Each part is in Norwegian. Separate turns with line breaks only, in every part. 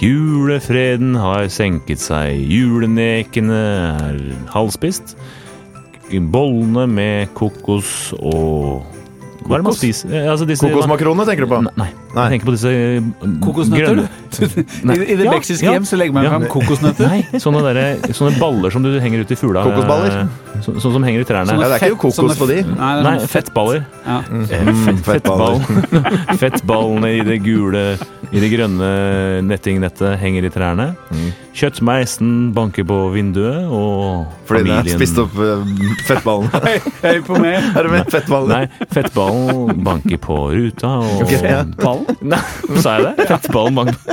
Julefreden har senket seg, julenekene er halvspist. Bollene med kokos og Hva er det man spiser? Eh, Altså disse,
Kokosmakronene tenker du på?
Nei, nei,
Nei.
jeg tenker på disse eh,
Kokosnøtter,
grønne-
I,
Nei.
I det
Ja,
beksiske
ja.
hjem så legger man
Ja.
fram kokosnøtter.
Nei, sånne, derre- sånne baller som du henger ut i fugla. eh,
Kokosballer?
Så, sånn som henger i trærne.
Nei, det er ikke kokos
sånne-
på de.
Nei, det er
Nei,
sånn
fettballer.
Ja.
Mm,
fettballer.
fettball. Fettballene i det gule, i det grønne nettingnettet henger i trærne.
Mm.
Kjøttmeisen banker på vinduet, og
Fordi den har
familien-
spist opp eh, fettballene.
Jeg er på meg.
Er det med fettballene?
Nei, fettballen banker på ruta, og
Ok, ja.
Ballen? Nei, sa jeg det? Fettballen banker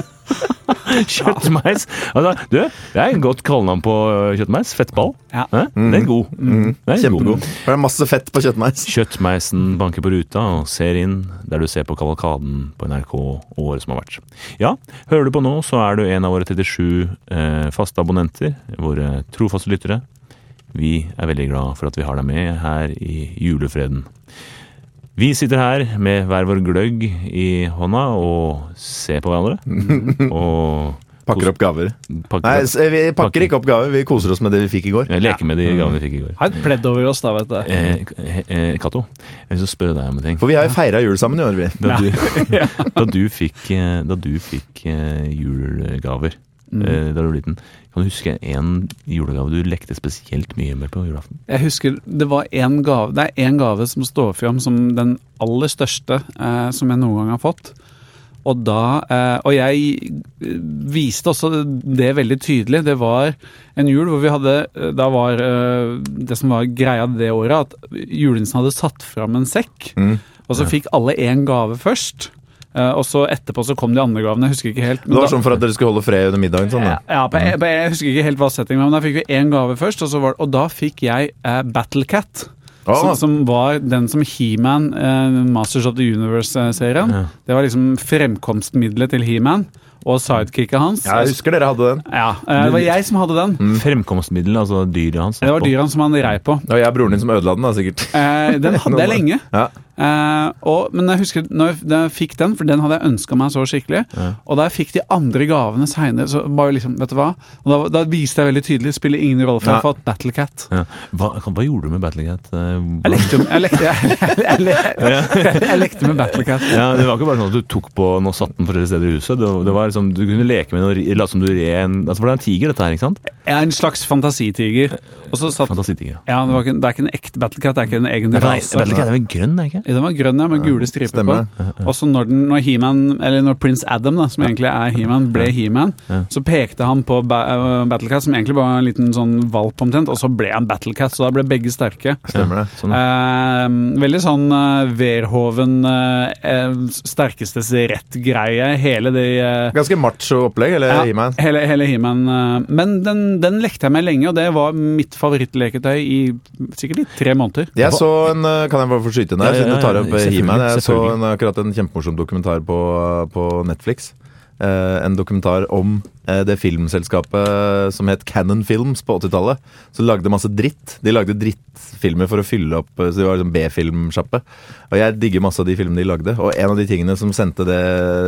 Kjøttmeis. Altså, du, det er et godt kallenavn på øh, kjøttmeis. Fettball.
Ja.
Hæ? Den er god. Den er god.
Mm. Kjempegod. For det er masse fett på kjøttmeis.
Kjøttmeisen banker på ruta og ser inn der du ser på Kavalkaden på NRK og året som har vært. Ja, hører du på nå, så er du en av våre 37 eh, faste abonnenter, våre trofaste lyttere. Vi er veldig glad for at vi har deg med her i julefreden. Vi sitter her med hver vår gløgg i hånda og ser på hverandre. Og
Pakker opp gaver.
pakker
Nei, s- eh,
opp.
vi pakker ikke opp gaver. Vi koser oss med det vi fikk i går.
Jeg leker med de gavene vi fikk i går.
Har et pledd over oss, da, vet du.
Eh, eh, eh, Cato, jeg vil spørre deg om en ting.
For vi har jo feira jul sammen i år, vi.
Da du, da du fikk, eh, da du fikk eh, julegaver eh, da du var liten, kan du huske en julegave du lekte spesielt mye med på julaften?
Jeg husker det var en gave Det er én gave som står fram som den aller største eh, som jeg noen gang har fått. Og da eh, Og jeg eh, viste også det veldig tydelig. Det var en jul hvor vi hadde eh, Da var eh, det som var greia det året, at julenissen hadde satt fram en sekk.
Mm.
Og så fikk alle én gave først. eh, Og så etterpå så kom de andre gavene. Jeg husker ikke helt. men
Det var
da-
sånn for at dere skulle holde fred under middagen. Sånn, da.
ja, på, jeg, på, jeg husker ikke helt hva settingen var, men da fikk vi én gave først. Og, så var, og da fikk jeg eh, Battlecat.
Å,
Som, som var den som He-Man, eh, Masters of the Universe-serien
Ja.
Det var liksom fremkomstmiddelet til He-Man og sidekicket hans.
jeg husker dere hadde den.
Ja, eh, det var jeg som hadde den.
Fremkomstmiddel, altså dyret hans.
Det var dyra som han rei på.
Og jeg er broren din som ødela den, da, sikkert.
Eh, den hadde jeg lenge.
Ja.
Eh, og, men jeg husker når jeg, da jeg fikk den, for den hadde jeg ønska meg så skikkelig. Og da jeg fikk de andre gavene seinere, så bare liksom, vet du hva og da, da viste jeg veldig tydelig, spiller ingen rolle, for jeg har fått Battlecat.
Ja. Hva, hva gjorde du med Eh, Battlecat?
Jeg lekte, jo- jeg, lekte, jeg, jeg, jeg, jeg lekte med Battlecat.
Ja, det var ikke bare sånn at du tok på den og satte den forskjellige steder i huset. Det, var- det var liksom, Du kunne leke med den og ri- late som du red en altså, For det er en tiger, dette her, ikke sant?
Jeg er en slags fantasitiger. Og så satt
Fantasitiger.
ja, det, var ikke, det er ikke en ekte Battlecat, det er ikke en egen
Nei,
rase.
Battlecat er vel grønn, er det ikke?
altså, Ja, Den var grønn, ja, med gule striper
stemmer.
på. Og så når, den- når He-Man, eller når prins Adam, da, som egentlig er He-Man, ble He-Man, så pekte han på ba eh, Battlecat, som egentlig bare var en liten sånn valp omtrent, og så ble han Battlecat, så da ble begge sterke.
Stemmer det.
Sånn,
Eh, veldig sånn eh, Verhoven, eh, eh, sterkestes rett-greie, hele det eh,
Ganske macho opplegg, eller
ja,
He-Man?
hele, hele He-Man. eh, Men den, den lekte jeg med lenge, og det var mitt favorittleketøy i sikkert i tre måneder.
Jeg så en, eh, Kan jeg bare få skyte inn der,
Ja, ja,
siden du tar
ja,
opp eh,
selvfølgelig,
He-Man? Jeg så
selvfølgelig.
en, eh, akkurat en kjempemorsom dokumentar på, på Netflix. Eh, en dokumentar om eh, det filmselskapet som het Cannon Films på 80-tallet. Som lagde masse dritt. De lagde drittfilmer for å fylle opp eh, Så de var liksom B-filmsjappe. Og jeg digger masse av de filmene de lagde. Og en av de tingene som sendte det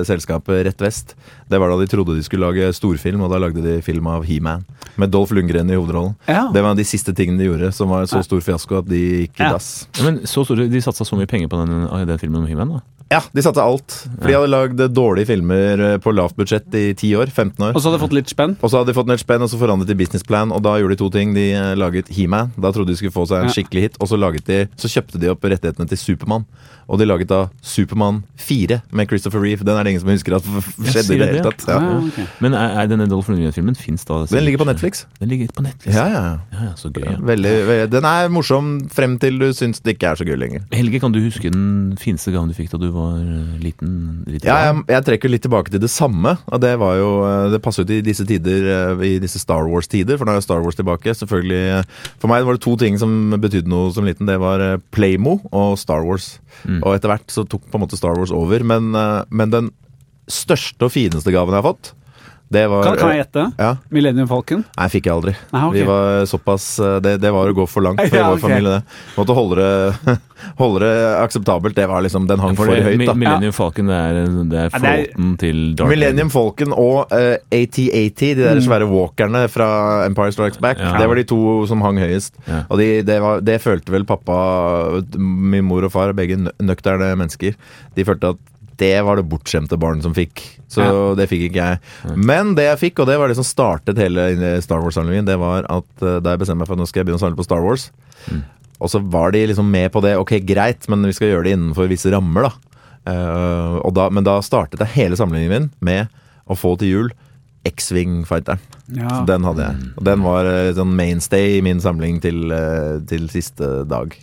selskapet rett vest, det var da de trodde de skulle lage storfilm, og da lagde de film av He-Man. Med Dolph Lundgren i hovedrollen.
Ja.
Det var en av de siste tingene de gjorde, som var en så stor fiasko at de gikk i
Ja.
dass.
Ja, men så store, De satsa så mye penger på den, eh, den filmen om He-Man, da.
Ja, de satte alt. For de hadde lagd dårlige filmer eh, på lavt budsjett i 10 år. 15 år.
Og så hadde jeg fått litt spenn.
Og så hadde de fått nytt spenn, og så forandret de businessplan, og da gjorde de to ting. De eh, laget He-Man, da trodde de skulle få seg en
Ja.
skikkelig hit, og så, laget de, så kjøpte de opp rettighetene til Supermann. Og de laget da Supermann 4 med Christopher Reeve. Den er det ingen som husker at skjedde i
sier
det
det,
hele tatt. Ja.
Ja, ok.
Men er, er denne Dolph Lundgren-filmen fins da?
Den ligger på Netflix.
Den ligger på Netflix.
Ja, ja, ja.
Ja, ja, så gøy. Ja.
Veldig, veldig, den er morsom frem til du syns det ikke er så gøy lenger.
Helge, kan du huske den fineste gaven du fikk da du var eh, liten? liten
Ja, jeg,
barn?
jeg trekker litt tilbake til det samme. Og det var jo, eh, det passer jo til disse tider, eh, i disse Star Wars-tider, for nå er jo Star Wars tilbake. selvfølgelig. eh, For meg var det to ting som betydde noe som liten. Det var eh, Playmo og Star Wars.
Mm.
Og etter hvert så tok på en måte Star Wars over. Men, eh, men den største og fineste gaven jeg har fått, det var
Kan, kan jeg gjette?
Ja.
Millennium Falcon?
Nei, fikk jeg aldri.
Nei, ok.
Vi var såpass eh, det, det var å gå for langt for
Ja,
vår
ok.
familie, det. Måtte holde det, holde det akseptabelt. Det var liksom Den hang
For
for
det,
høyt,
Mi-
da.
Millennium Falcon det er, det er
Ja, det er-
flåten til Dark Mm.
Millennium Falcon og eh, AT-AT, de der svære walkerne fra Empire Strikes Back,
Ja.
det var de to som hang høyest.
Ja.
Og de, det, var, det følte vel pappa, min mor og far, begge nø- nøkterne mennesker, de følte at det var det bortskjemte barn som fikk. Så det fikk ikke jeg. Men det jeg fikk, og det var det som startet hele Star Wars-samlingen, det var at eh, da jeg bestemte meg for at nå skal jeg begynne å samle på Star Wars, og så var de liksom med på det. Ok, greit, men vi skal gjøre det innenfor visse rammer, da. Eh, og da men da startet jeg hele samlingen min med å få til jul X-Wing-fighteren.
Ja.
Så Den hadde jeg. Og den var eh, sånn mainstay i min samling til, eh, til siste dag.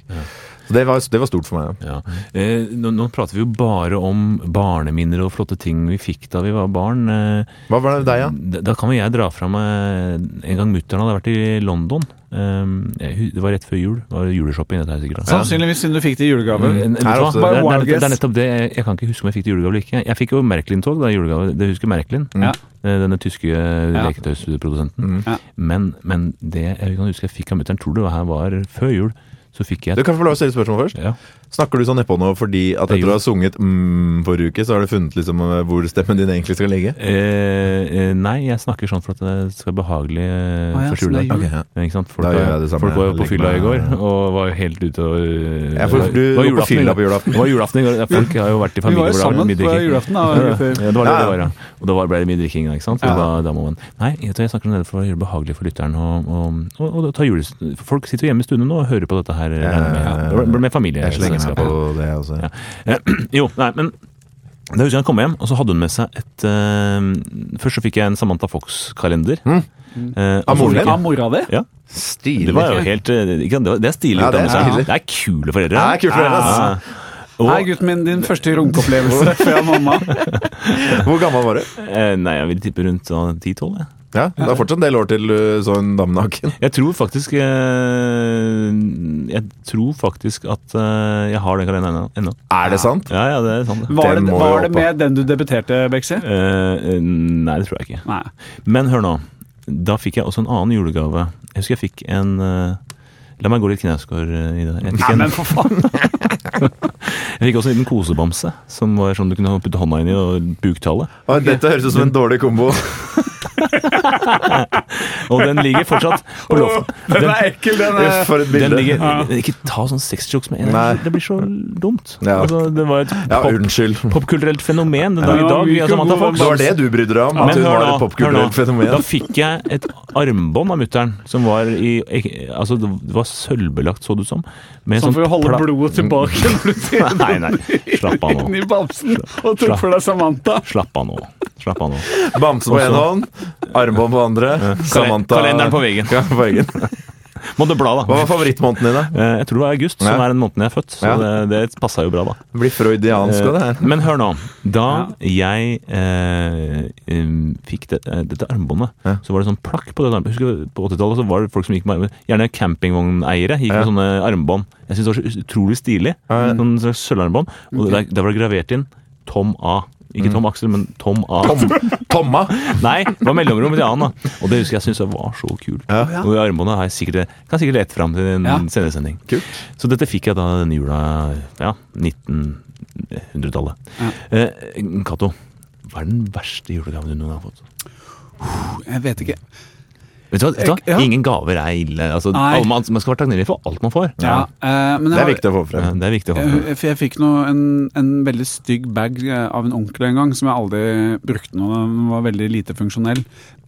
Så det var, det var stort for meg.
Ja. Eh, nå, nå prater vi jo bare om barneminner og flotte ting vi fikk da vi var barn. Eh,
Hva var det med deg, ja?
da, da kan jo jeg dra fra meg En gang mutter'n hadde vært i London. Eh, jeg hu- det var rett før jul. Det var juleshopping, dette her sikkert. da.
Sannsynligvis siden du fikk det i
Ja, men, vet
julegave.
du
Her
hva? Mm.
også.
Det, er- det, er-
Wild
det er nettopp det. Jeg, jeg kan ikke huske om jeg fikk det i julegave eller ikke. Jeg fikk jo Merklin-tog da i julegave. Det husker Merklin.
Mm.
Ja.
Eh, Denne tyske leketøysprodusenten.
Ja.
Men, men det jeg kan huske jeg fikk av mutter'n, tror det her var før jul, så fikk jeg
Du kan få lov å stille spørsmål først.
ja.
Snakker du sånn nedpå nå fordi at etter
gjorde-
å ha sunget mm forrige uke, så har du funnet liksom eh, hvor stemmen din egentlig skal ligge?
Eh, eh, nei, jeg snakker sånn for at det skal være behagelig eh,
Å ja,
første
så det er
juledag.
Ok,
jul.
ja.
Ikke sant? Folk,
Da gjør
var-
jeg det samme.
folk var jo
Jeg
på
legger
fylla
meg-
i går og var jo helt ute og eh,
Ja, for
det var-
du
det var
var på
julaften i
fylla
dag.
på julaften.
Det var julaften i går. Ja, Folk har jo vært i
Vi var jo sammen
familieprogrammet.
på julaften. Da,
Ja, det var det
Ja, ja.
det var, ja. Og da var- ble det mye drikking, ikke sant? Så
Ja.
Da, da må man Nei, jeg, tror jeg snakker om det for å gjøre det behagelig for lytteren og, og, og, og ta jules... Folk sitter jo hjemme i stunden nå og hører på dette her. regner jeg med. Det blir med familie.
Jeg slenger meg på det altså. også.
Ja. Jo, nei, men da husker sånn jeg han kom hjem, og så hadde hun med seg et eh, Først så fikk jeg en Samantha Fox-kalender.
Mm.
Eh, og så
Av moren
fikk
din?
Av mora di?
jeg- Ja, det
Stilig.
var jo helt eh, ikke, sant, Det, var, det er stilig.
Ja,
å ta
det er
med seg.
stilig.
det er kule foreldre.
Ja, det er kule foreldre,
Ja. Og,
Hei, gutten min, din første runkeopplevelse fra mamma.
Hvor gammel var du?
eh, nei, jeg vil tippe rundt sånn 10-12. Jeg.
Ja, Det er fortsatt en del år til du så en dame naken.
jeg tror faktisk eh, Jeg tror faktisk at eh, jeg har den kalenderen ennå.
Er det sant?
Ja, ja, det er sant. det.
Var
Den
det,
må jo
var det
opp, da.
med den du debuterte, Bexi?
Eh, eh, nei, det tror jeg ikke.
Nei.
Men hør nå. Da fikk jeg også en annen julegave. Jeg husker jeg fikk en eh, La meg gå litt knausgård eh, i det. her. Jeg fikk, en,
Men for faen!
jeg fikk også en liten kosebamse, som var sånn du kunne putte hånda inn i og buktale.
Å, Dette høres ut som en dårlig kombo.
Og den ligger fortsatt på loftet. Den,
ekkel, den
For et
den
bilde.
ligger, Ikke ta sånn sexjokes med en
Nei.
gang, det blir så dumt.
Ja.
Altså, det var et
Ja,
pop,
unnskyld.
popkulturelt fenomen den
Ja,
dag i dag.
vi
via
kan
Samantha
gå-
Fox.
Det var det du brydde deg om? At hun var et popkulturelt
Da
fenomen?
fikk jeg et armbånd av mutter'n som var i Altså, det var sølvbelagt, så det ut som. med
Sånn for å holde
pla-
blodet tilbake når du ser
Nei, nei. Slapp av
inn
nå.
i bamsen og tok for deg Samantha.
Slapp av nå. Slapp av nå.
Bamse på én hånd, armbånd på andre. Samantha
Kalenderen på veggen.
Ja, på veggen.
Må du bla,
Hva
da.
var favorittmåneden din, da?
Eh, Jeg tror det var august, som
Ja.
er den måneden jeg er født. Så det,
Ja.
det passa jo bra, da.
Det blir freudiansk av det her.
Eh, Men hør nå. Da jeg eh, em, fikk det, eh, dette armbåndet,
Ja.
så var det sånn plakk på det armbåndet. Husker du, På 80-tallet så var det folk som gikk med Gjerne campingvogneiere gikk
Ja.
med sånne armbånd. Jeg syns det var så utrolig stilig.
Ja.
Sånn slags sølvarmbånd. Og der, der var det gravert inn Tom A. Ikke Tom Aksel, men Tom A.
Mm. Tom, Tomma!
Nei, det var mellomrommet til Anna. Og det husker jeg synes jeg var så kult.
Ja.
Og det armbåndet har jeg sikkert, kan jeg sikkert lete fram til en
Ja.
senere sending.
Kult.
Så dette fikk jeg da denne jula ja, 1900-tallet. Eh, Cato, hva er den verste julegaven du noen gang har fått?
Jeg vet ikke.
Vet du hva? Vet du hva?
Eh, Ja.
Ingen gaver er ille. Altså,
Nei.
alle, man, man skal være takknemlig for alt man får.
Ja, eh, men jeg
Det er
har-
viktig å få
Ja,
frem.
Det er viktig å ha.
Eh, For jeg fikk noe, en, en veldig stygg bag eh, av en onkel en gang, som jeg aldri brukte noe. Den var veldig lite funksjonell.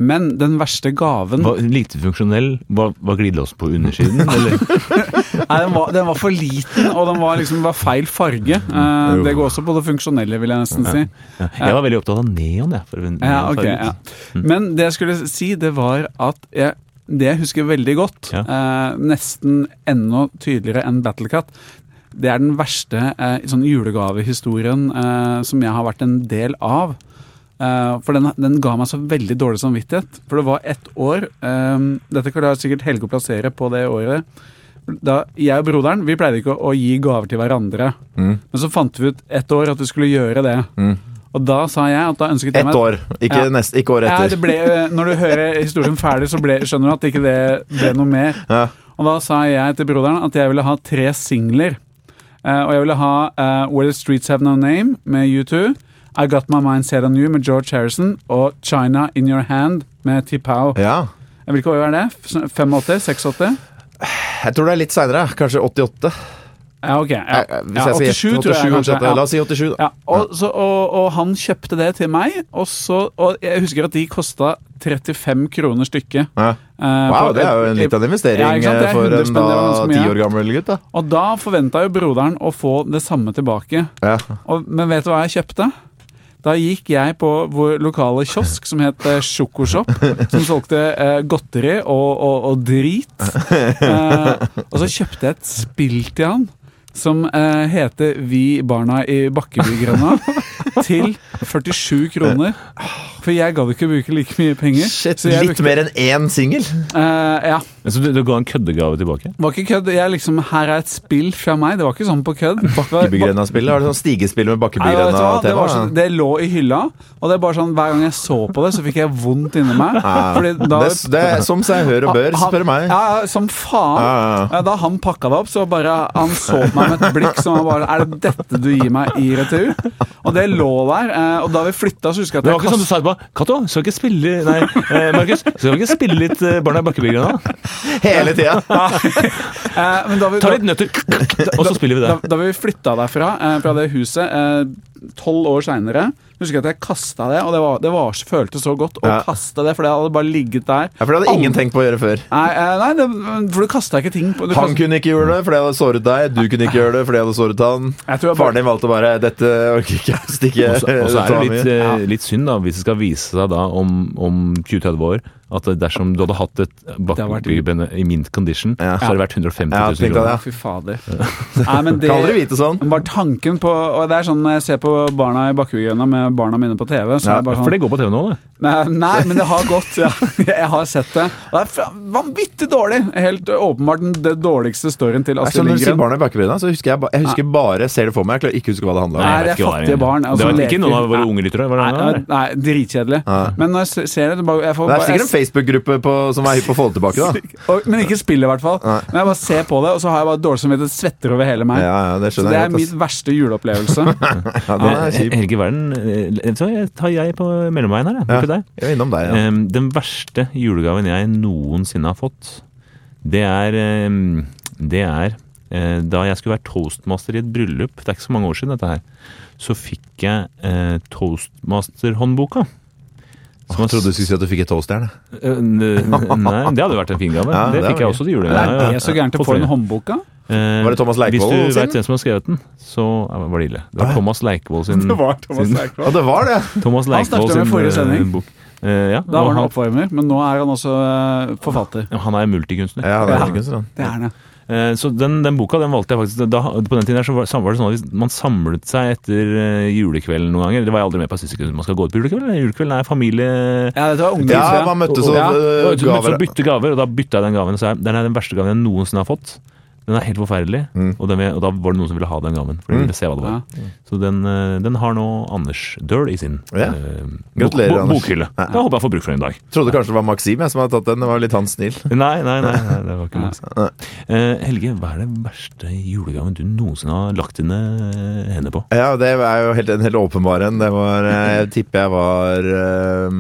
Men den verste gaven
Var, lite funksjonell. Var, var glidelåsen på undersiden? Eller?
Nei, eh, den var, den var for liten, og den var liksom var feil farge. Eh, det går også på det funksjonelle, vil jeg nesten si.
Ja. Jeg var veldig opptatt av neon. Jeg, for neon
Ja, ok,
farget.
ja.
Mm.
Men det jeg skulle si, det var at jeg, det jeg husker veldig godt,
Ja.
eh, nesten enda tydeligere enn Battlecat, det er den verste eh, sånn julegavehistorien eh, som jeg har vært en del av. Eh, for den, den ga meg så veldig dårlig samvittighet. For det var ett år eh, Dette kan da sikkert Helge plassere på det året. Da, jeg og broderen vi pleide ikke å, å gi gaver til hverandre.
Mm.
Men så fant vi ut ett år at vi skulle gjøre det.
Mm.
Og da sa jeg at da ønsket jeg
Ett
meg
år, ikke,
Ja.
neste, ikke året
ja,
etter.
det ble, når du hører historien ferdig, så ble, skjønner du at ikke det ble noe mer.
Ja.
Og da sa jeg til broderen at jeg ville ha tre singler. Eh, og jeg ville ha eh, Where the Streets Have No Name med U2, I Got My Mind Set On You med George Harrison og China In Your Hand med Tipao.
Ja.
Hvilke år er det? F- 85? 86?
Jeg tror det er litt seinere. Kanskje 88.
Ja, ok. Ja.
Eh, Hvis
Ja,
jeg sier
87, tror jeg
87,
kanskje.
88.
Ja.
La oss si 87, da.
Ja, og, så, og, og han kjøpte det til meg, og, så, og jeg husker at de kosta 35 kroner stykket.
Ja.
eh,
Wow,
på-
det er jo en litt av en investering
Ja, ikke sant? Det er
eh, for
100
en
spenn,
da
det var ganske mye.
ti år gammel gutt. da
Og da forventa jo broderen å få det samme tilbake.
ja.
Og, men vet du hva jeg kjøpte? Da gikk jeg på vår lokale kiosk som het eh, Sjokoshop, som solgte eh, godteri og, og, og drit. Eh, og så kjøpte jeg et spill til han som eh, heter Vi barna i Bakkebygrenda, til 47 kroner. For jeg gadd ikke bruke like mye penger.
Shit,
så jeg
litt mer enn én singel!
eh, ja,
Så du, du ga en køddegave tilbake?
det var ikke kødd. Jeg liksom, her er et spill fra meg. Det var ikke sånn på kødd. Det var-
Bakkebygrenda-spillet? Har du sånn stigespill med
Nei, vet du hva? det, var sånn- så,
Bakkebygrenda-tema?
det lå i hylla, og det er bare sånn hver gang jeg så på det, så fikk jeg vondt inni meg.
Ja.
Fordi da,
Ah. Det, det er som seg hør og bør,
Han-
spør meg. Ah,
Ja, ja, som faen.
Ja, ja,
Ja, Da han pakka det opp, så bare han så på meg med et blikk som var bare Er det dette du gir meg i retur? Og det lå der. eh, Og da vi flytta, så husker jeg at
Det var
jeg
ikke sånn du
kastet
sa etterpå. Cato, skal vi ikke spille Nei, eh, Markus. Skal vi ikke spille litt eh, Barna i Bakkebygrenda?
Hele tida!
eh, men da vi,
Ta
da-
litt nøtter, og så spiller vi det.
Da, da vi flytta derfra, eh, fra det huset, eh, tolv år seinere, husker jeg at jeg kasta det, og det, var, det var, så- føltes så godt å
Ja.
kaste det, for det hadde bare ligget der.
Ja, for det hadde
Aldri-
ingen tenkt på å gjøre før.
Nei, eh, nei det, for du kasta ikke ting på du
Han
kastet,
kunne ikke gjøre det fordi jeg hadde såret deg. Du kunne ikke gjøre det fordi jeg hadde såret han.
Jeg tror jeg bare-
Faren din valgte bare 'dette orker ikke jeg stikke'.
Og så og så er det
ta
litt,
mye».
eh, litt synd, da, hvis det skal vise seg da om, om 20-30 år, at dersom du hadde hatt et
vært-
Bakkebygrenda i mint condition,
Ja.
så hadde det vært 150 000
Ja, tenk deg
kroner.
det.
Fy fader. Nei, men det
Kan aldri vite sånn.
men Bare tanken på Og det er sånn når jeg ser på Barna i bakkegrønna med barna mine på TV, så
Ja,
er det bare
For
sånn
det går på TV nå, det.
Nei, nei, men det har gått. Ja. Jeg har sett det. Og det er fra- vanvittig dårlig! Helt åpenbart den det dårligste storyen til
Nei, så
Astrid
sånn når du sier
Lindgren.
barna i bakkebrynene, så husker jeg, ba jeg husker bare ser det for meg. Jeg klarer ikke å huske hva det handla om.
Nei, det
jeg
er
vet ikke hva
fattige barn, altså,
det var
leker.
ikke noen av våre
Nei.
unge lyttere. var det det
Nei,
var?
nei, dritkjedelig.
Ja.
Men når jeg se- ser det, det bare, jeg får
Det er
bare,
sikkert en
jeg,
Facebook-gruppe på- som er hypp på å få det tilbake, da.
og, Men ikke spillet, i hvert fall.
Nei.
Men jeg bare ser på det, og så har jeg bare dårlig samvittighet, svetter over hele meg.
Ja, ja, det
så
skjønner
det
jeg
er
godt.
min
ass.
verste juleopplevelse.
Ja, den er
Eh,
kjip.
Helge Verden, eh, så jeg tar jeg på mellomveien her, jeg.
Ja,
Ikke Eh, deg.
jeg er innom deg, ja.
Em, Ehm, Den verste julegaven jeg noensinne har fått, det er, em, det er eh, da jeg skulle være toastmaster i et bryllup, det er ikke så mange år siden dette her, så fikk jeg eh, toastmasterhåndboka. Som
Jeg trodde du skulle si at du fikk et toastjern.
Eh, Nei, det hadde vært en fin gave.
Ja,
det
det
fikk jeg
var gøy.
også til jul.
Det er så gærent å få den håndboka.
Var
Var det Thomas
Eh,
Leikvoll
Hvis du
sin?
vet hvem som har skrevet den, så ja, var det ille. Det var Thomas Leikvoll sin
Det var Thomas
sin-
Eichmann.
Ja, det var det!
Thomas
Han snakket
Leikvoll
om i
sin
forrige
eh,
sending.
bok. Eh, ja, og
Da var han
han,
oppvarmer, men nå er han også eh, forfatter.
han er multikunstner.
Ja, det er
Ja.
kunst, sånn. da.
Det er han, ja.
Eh, Så den, den boka den valgte jeg faktisk da, På den tiden der så var, var det sånn at hvis man samlet seg etter eh, julekvelden noen ganger. Det var jeg aldri med på. Jeg synes ikke man skal gå ut på julekveld. Julekvelden er familie...
Ja, dette var ungdomstiden.
Ja, man møttes og
Ja.
Ja,
øh,
så møttes
gaver.
og bytte gaver, og da bytta jeg den gaven. og Så jeg, den er den verste gaven jeg noensinne har fått. Den er helt forferdelig,
Mm.
og, den, vil- og da var det noen som ville ha den gaven. For de ville se hva det var. Så den, eh, den har nå Anders Døhl i sin
Ja.
eh,
Gratulerer,
bok,
Anders.
bok, bokhylle. Da håper jeg får bruk for den en dag.
Trodde kanskje det var Maxim jeg, som hadde tatt den. Det var litt hans snill.
Nei, nei, nei, nei det var ikke noe. Eh, Helge, hva er den verste julegaven du noensinne har lagt dine eh, hender på?
Ja, det er jo helt, en helt åpenbar en. Det var eh, Jeg tipper jeg var eh,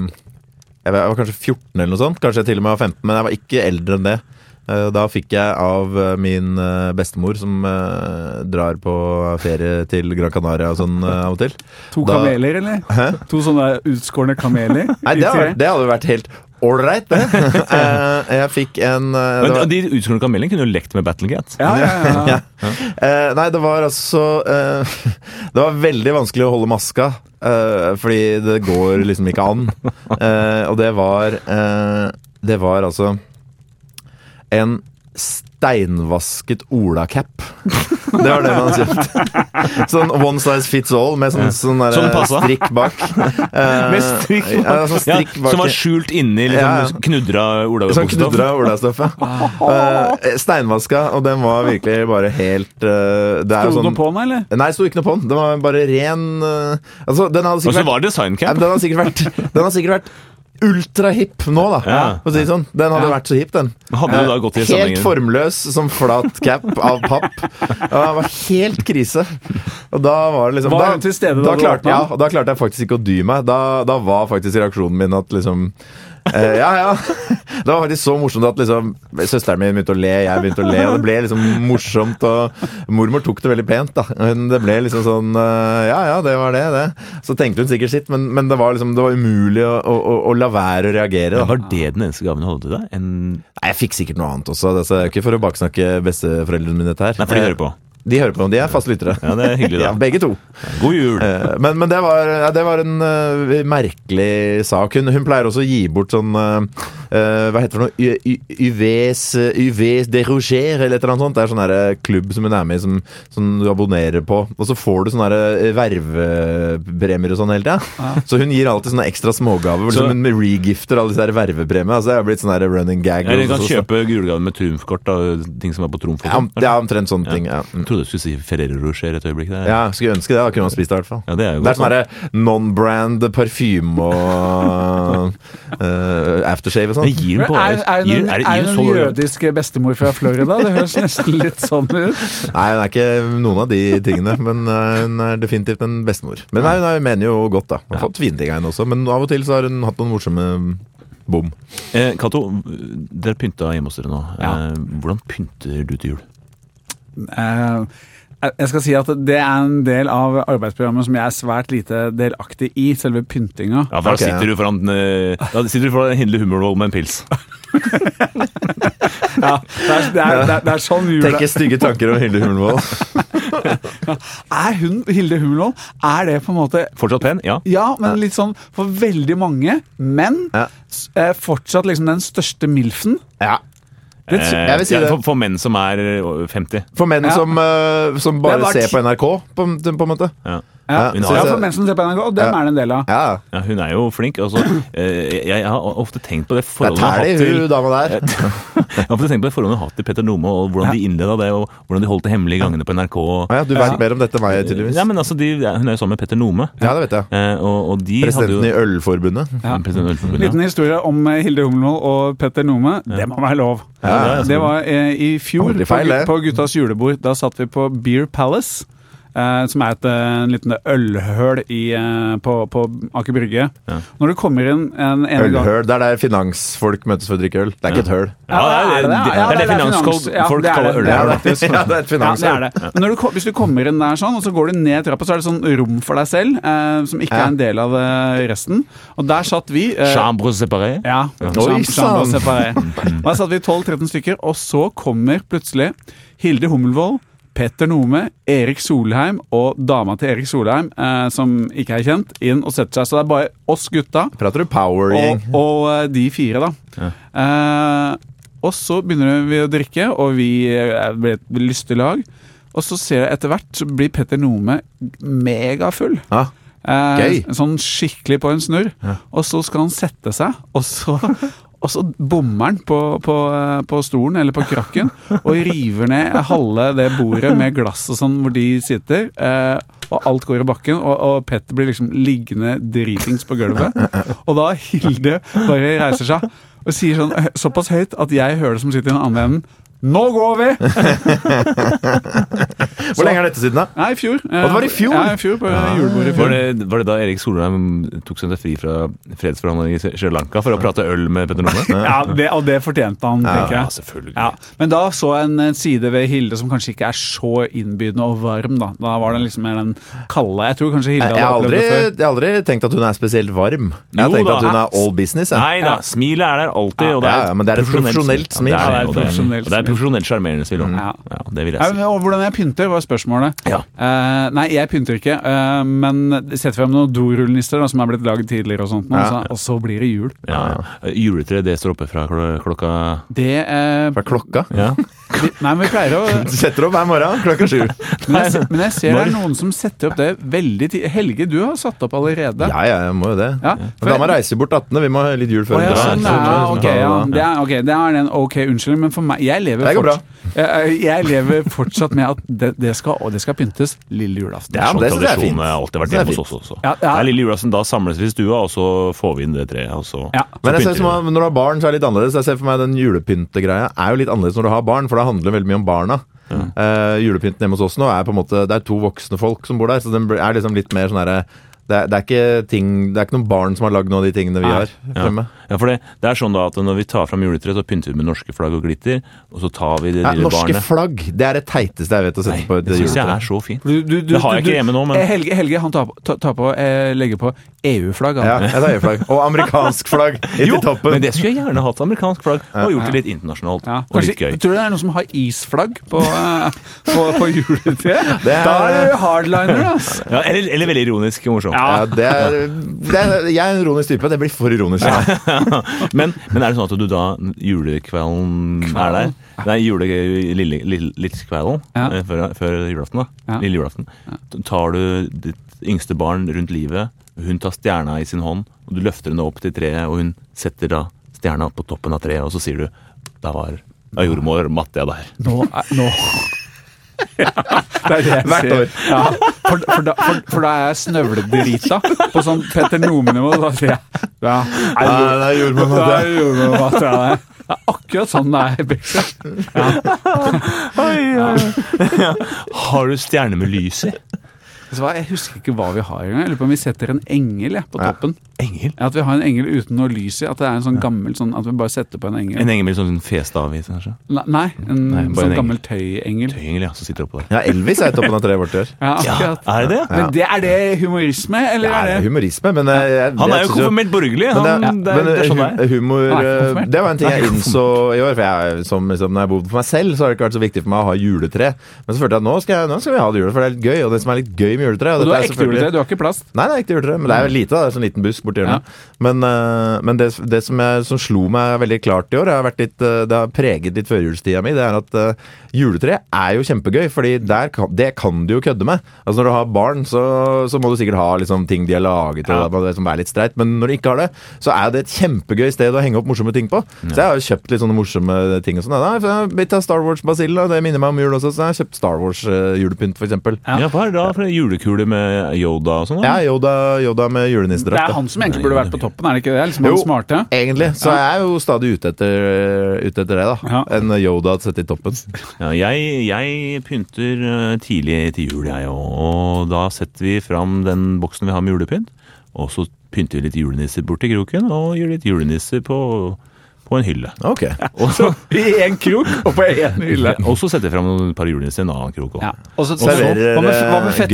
Jeg var- jeg var kanskje 14 eller noe sånt, kanskje jeg til og med var 15, men jeg var ikke eldre enn det. Eh, Da fikk jeg av eh, min eh, bestemor, som eh, drar på ferie til Gran Canaria og sånn eh, av og til.
To
Da-
kameler, eller? To sånne utskårne kameler?
Nei,
i
det hadde,
tre.
vært- det hadde vært helt ålreit, det. Eh, jeg fikk en eh, det
Men
var-
De utskårne kamelen kunne jo lekt med Battlegate.
Ja, ja, ja. ja.
Eh, nei, det var altså eh, Det var veldig vanskelig å holde maska. eh, fordi det går liksom ikke an. Eh, og det var eh, Det var altså en steinvasket olacap. Det var det man kjøpte. Sånn one size fits all med sånn, sånn der,
Som passa.
strikk bak. Eh,
Med strikk bak.
Ja, sånn
Ja,
strikk bak.
som var skjult inni
Ja, ja.
liksom, knudra
Sånn
olabuksa.
knudra olastoffet. Eh, steinvaska, og den var virkelig bare helt eh, Det er jo
Sto det
sånn
noe på den, eller?
Nei, det sto ikke noe på den. Den var bare ren eh, Altså, den hadde
Og så
sikkert vært,
var det
Nei, men
designcamp.
den hadde sikkert vært, den hadde sikkert vært ultrahipp nå, da.
Ja.
For å si det sånn. Den hadde
Ja.
vært så hipp, den.
Hadde du da gått i
Helt
sammenhengen?
formløs som flat cap av papp. Ja, Det var helt krise. Og da var det liksom
Var
da,
hun til stede da
da
du åpna
klarte, ja,
den?
og da klarte jeg faktisk ikke å dy meg. Da, da var faktisk reaksjonen min at liksom eh, ja, ja. Det var faktisk så morsomt at liksom, søsteren min begynte å le, jeg begynte å le. Og det ble liksom morsomt. Og mormor tok det veldig pent. da Men Det ble liksom sånn eh, Ja, ja, det var det. det. Så tenkte hun sikkert sitt, men, men det var liksom Det var umulig å, å, å, å la være å reagere.
Ja,
da
Var det den eneste gaven du hadde til deg? En...
Nei, Jeg fikk sikkert noe annet også. altså, Det er ikke for å baksnakke besteforeldrene mine. dette her Eh,
Nei, for de hører på.
De hører på, de er fast lyttere.
Ja, det er hyggelig, da.
Ja, begge to.
God jul!
Eh, Men, men det, var, ja, det var en eh, merkelig sak. Hun, hun pleier også å gi bort sånn eh, eh, Hva heter det for noe? Y- y- Yves Yves de Rouger, eller et eller annet sånt. Det er sånn der, eh, klubb som hun er med i, som, som du abonnerer på. Og så får du sånne der, eh, vervepremier og sånn hele tida. Så hun gir alltid sånne ekstra smågaver.
Så-
Liksom hun regifter alle disse her vervepremiene. Altså, det har blitt sånn der running gag. sånn.
Eller du
hos
kan
oss, da.
kjøpe julegave med trumfkort. Da, ting som er på trumfkort.
Ja, om- det er omtrent sånne
Ja.
ting. Ja. Mm.
Jeg trodde du skulle si Ferrero Rocher et øyeblikk. Der.
ja, Skulle ønske det. Da kunne man spist det, i hvert fall.
Ja, det er jo
Det er
godt.
sånn herre non-brand parfyme og eh, aftershave og
da.
sånn.
Men gir hun på
Er, er,
gir,
hun,
er,
er
det- gir
hun
hun
en
så-
jødisk bestemor fra Florida? Det høres nesten litt sånn ut.
Nei, hun er ikke noen av de tingene, men eh, hun er definitivt en bestemor. Men nei, hun er- mener jo godt, da. Hun har fått fine ting av henne også, men av og til så har hun hatt noen morsomme bom.
Eh, Cato, dere pynta hjemme hos dere nå.
Ja.
Eh, hvordan pynter du til jul?
Eh, Jeg skal si at det er en del av arbeidsprogrammet som jeg er svært lite delaktig i, selve pyntinga.
Ja, for
Ok,
da, sitter
ja.
du foran, eh, da sitter du foran Hindle Hummervoll med en pils.
Ja, det, er, det, er, det, er, det er sånn jula
Tenker stygge tanker om Hilde Humlevold.
Er hun Hilde Humlon? Er det på en måte
Fortsatt pen? Ja.
Ja, men litt sånn for veldig mange. Men
Ja.
s- eh, fortsatt liksom den største MILF-en.
Ja.
Det,
Eh,
tr-
Jeg vil si
ja,
det.
For, for menn som er eh, 50.
For menn
Ja.
som, eh, som bare
Det var
ser
ti-
på NRK, på, på en måte.
Ja.
ja,
hun
ja,
har-
for menn som ser på NRK, og dem
Ja.
er det en del av.
Ja,
Ja, hun er jo flink. Altså, eh, jeg, jeg har ofte tenkt på det
Det er
forholdet hun har
tælig,
hatt til
hun dama der.
Jeg har ofte tenkt på det forholdet hun har hatt til Petter Nome, og hvordan de innleda det, og hvordan de holdt det hemmelig i gangene på NRK. Og,
Ah, ja, du vet mer om dette enn meg, tydeligvis.
Ja, men altså, de, Hun er jo sammen med Petter Nome,
Ja, det vet jeg.
eh, og, og de
Presidenten
hadde
i
jo
Ølforbundet.
Ja, Presidenten i Ølforbundet,
Liten historie om eh, Hilde Humlon og Petter Nome. Det må være lov.
Ja, det er Mm.
det var eh, i fjor,
Aldri feil,
på,
det.
på guttas julebord. Da satt vi på Beer Palace. Eh, som er et, eh, en liten ølhøl i, eh, på, på Aker Brygge.
Ja.
Når du kommer inn en ene gang
Ølhøl. Det er der finansfolk møtes for å drikke øl. Det er ikke et høl.
Ja, det er det.
ja.
Det
Ja,
er det finansfolk
finans- ja,
folk
det er
kaller
det.
øl.
Ja,
Ja,
det er det.
det, ja, det er et
Ja, det
finansøl.
er det. Men når du, ko- hvis du kommer inn der sånn, og så går du ned trappa, så er det sånn rom for deg selv, eh, som ikke
Ja.
er en del av eh, resten. Og der satt vi eh,
Chambre séparée.
Ja.
Oi,
Chambre- Chambre
sann.
séparée. Og der satt vi 12-13 stykker, og så kommer plutselig Hilde Hummelvold, Petter Nome, Erik Solheim og dama til Erik Solheim, eh, som ikke er kjent, inn og setter seg. Så det er bare oss gutta
Prater du power-gjeng?
og, og eh, de fire, da. Eh, og så begynner vi å drikke, og vi eh, blir et lystig lag. Og så ser jeg etter hvert så blir Petter Nome megafull.
Ja.
Eh,
Gøy.
sånn skikkelig på en snurr. Og så skal han sette seg, og så Og så bommer han på, på, eh, på stolen, eller på krakken, og river ned halve det bordet med glass og sånn hvor de sitter. Eh, og alt går i bakken, og, og Petter blir liksom liggende dritings på gulvet. Og da Hilde bare reiser seg og sier sånn eh, såpass høyt at jeg hører det som sitter i den andre enden. Nå går vi!
Hvor lenge er dette siden, da?
Nei, i fjor.
det var i fjor? Ah.
Ja, i fjor på julebordet
Var
i fjor.
det, var det da Erik Solheim tok seg fri fra fredsforhandlinger i Sri- Sri Lanka for å prate øl med Petter Nome?
Ja, det, og det fortjente han, tenker
Ja,
jeg.
selvfølgelig.
Ja, Men da så jeg en eh, side ved Hilde som kanskje ikke er så innbydende og varm, da. Da var den liksom mer den kalde. Jeg tror kanskje Hilde
Jeg har,
hadde opplevd
aldri,
det før.
jeg har aldri tenkt at hun er spesielt varm. Jeg har
Jo
tenkt
da.
at hun er all business. Jeg.
Nei da, smilet er der alltid. Og det er
Ja, ja, men det er et profesjonelt smil.
Ja,
Ja, det er et
og det er- og
profesjonelt
det er et profesjonelt sjarmerende smil. også.
Ja.
Ja, det vil jeg
Nei,
si.
men, og hvordan jeg pynter, var spørsmålet.
Ja.
Eh, nei, jeg pynter ikke, eh, men setter frem noen dorullnisser da, som er blitt lagd tidligere, og sånt nå, så, og så blir det jul.
Ja, ja. Juletre, det står oppe fra klo- klokka
Det eh,
Fra klokka.
Ja.
vi- Nei, men vi pleier å
Du setter opp hver morgen klokka sju.
Men jeg, se- men jeg ser det er noen som setter opp det veldig tidlig. Helge, du har satt opp allerede.
Ja, ja, jeg må jo det.
Ja,
Men
for-
da må jeg reise bort 18. Vi må ha litt jul
Å,
før.
det
ja,
er
sånn,
sånn,
ja,
sånn,
ok, ja.
sånn.
Det er, ok, det er en ok unnskyldning, men for meg Jeg lever,
Det går bra.
fortsatt, jeg, jeg lever fortsatt med at det, det, skal, og det skal pyntes lille julaften.
Ja, men det
sånn
synes jeg er
tradisjon
fint.
har alltid vært
Det er
hjemme hos
fint.
oss også.
Ja, ja.
Det er lille julaften, da samles vi i stua, og så får vi inn det treet. Og så,
Ja.
så
Men jeg ser
pynter
som
vi
at når du har barn, så er det litt annerledes. Jeg ser for meg Den julepyntegreia er jo litt annerledes når du har barn, for det handler veldig mye om barna. Eh, julepynten hjemme hos oss nå er på en måte Det er to voksne folk som bor der, så den blir- er liksom litt mer sånn herre det, er- det er ikke ting Det er ikke noen barn som har lagd noen av de tingene vi har
Nei.
fremme.
det. ja, for det, det er sånn da at Når vi tar fram juletreet, så pynter vi med norske flagg og glitter, og så tar vi det
Ja,
lille
norske
barnet.
flagg! Det er det teiteste jeg vet å sette
Nei,
på et
det syns jeg
juletre.
er så fint.
Du- du- du-
Det har jeg
du-
ikke hjemme nå, men-
Eh, Helge, Helge han tar på, ta- tar på eh, legger på EU-flagg. han.
Ja, jeg tar øyeflagg. Og amerikansk flagg i
Jo,
til toppen.
men det skulle jeg gjerne hatt amerikansk flagg, og gjort det litt internasjonalt.
Ja,
Og
kanskje,
litt gøy.
Tror du det er noen som har isflagg på, eh, på, på juletreet?
Det er-
Da er du hardliner, ass!
Ja, eller, eller veldig ironisk morsomt.
Ja, det er, det er, jeg er en ironisk type. Det blir for ironisk. Ja.
Men, men er det sånn at du da julekvelden er der? Nei, jule, lille, lille, lillekvelden
Ja.
eh, før, før julaften, da.
Ja.
Lille julaften. Tar du ditt yngste barn rundt livet, hun tar stjerna i sin hånd, og du løfter henne opp til treet, og hun setter da stjerna på toppen av treet, og så sier du Da var da jordmor matte jeg der.
Nå, er, nå. Det er det jeg
Hvert
sier.
år.
Ja, for, for, da, for, for da er jeg snøvledrita på sånn Petter Nome-nivå. Da sier jeg ja, er
Nei,
jord-
nei, jordmor,
da
matte.
er jordmor matte, ja, det er- Det er akkurat sånn det er. Bexley.
Har du stjerne med lys i?
Så hva- Jeg husker ikke hva vi har engang. Jeg lurer på om vi setter en engel jeg, på toppen.
Engel?
Ja, at vi har en engel uten noe lys i. At det er en sånn gammel sånn At vi bare setter på en engel.
En engel med sånn festav i, kanskje?
Ne- Nei, en
Nei, bare
sånn
en
gammel tøyengel.
Tøyengel, ja, som sitter oppå der.
Ja, Elvis er i toppen av treet vårt i år.
Ja,
Ja,
akkurat.
er det det?
Men det, er det humorisme,
Ja,
eller
det
er
er
det
humorisme, men eh, jeg,
Han er
jeg
jo
synes
konfirmert borgerlig. Han,
Men, det,
det, er, det er sånn det er.
men hu- humor
Han er
eh,
ikke konfirmert.
Det var en ting jeg innså i år. For jeg, er jo som, liksom, når jeg bodde for meg selv, så har det ikke vært så viktig for meg å ha juletre. Men så følte jeg at nå skal, jeg, nå skal vi ha det jule, for det er litt gøy. Og det som er litt gøy med juletre og
Og du
dette
har
er
ekte
selvfølgelig-
juletre, du har ikke plast?
Nei, det er ekte juletre, men det er jo lite. da, Det er sånn liten busk borti hjørnet. Men, eh, men det, det som, jeg, som slo meg veldig klart i år, jeg har vært litt, eh, det har preget litt førjulstida mi, det er at eh, juletre er jo kjempegøy, fordi der kan, det kan du jo kødde med. Altså Når du har barn, så, så må du sikkert ha liksom, ting de har laget, og det må liksom være litt streit, men når du ikke har det, så er det et kjempegøy sted å henge opp morsomme ting på. Så jeg har jo kjøpt litt sånne morsomme ting og sånn. Nei, for jeg tar Star Wars-basillen, og det minner meg om jul også, så jeg har kjøpt Star eh, Wars-julepynt, f.eks.
Ja.
Ja, hva er det da for en julekule med Yoda og sånn?
Ja,
da?
Yoda, Yoda med
Det
julenissedrakt.
er
da.
han som egentlig burde vært på toppen, er det ikke det? Det er Liksom
Jo.
han smarte.
Egentlig. Så jeg er jo stadig ute etter, eh, ute etter det, da.
Ja.
En Yoda sett i toppen.
Ja, jeg, jeg pynter eh, tidlig til jul, jeg òg. Og da setter vi fram den boksen vi har med julepynt. Og så pynter vi litt julenisser borti kroken, og gjør litt julenisser på, på en hylle.
Ok.
Og så,
I én krok og på én hylle.
og så setter jeg fram et par julenisser i en annen krok òg.
Ja. Og så
Serverer eh,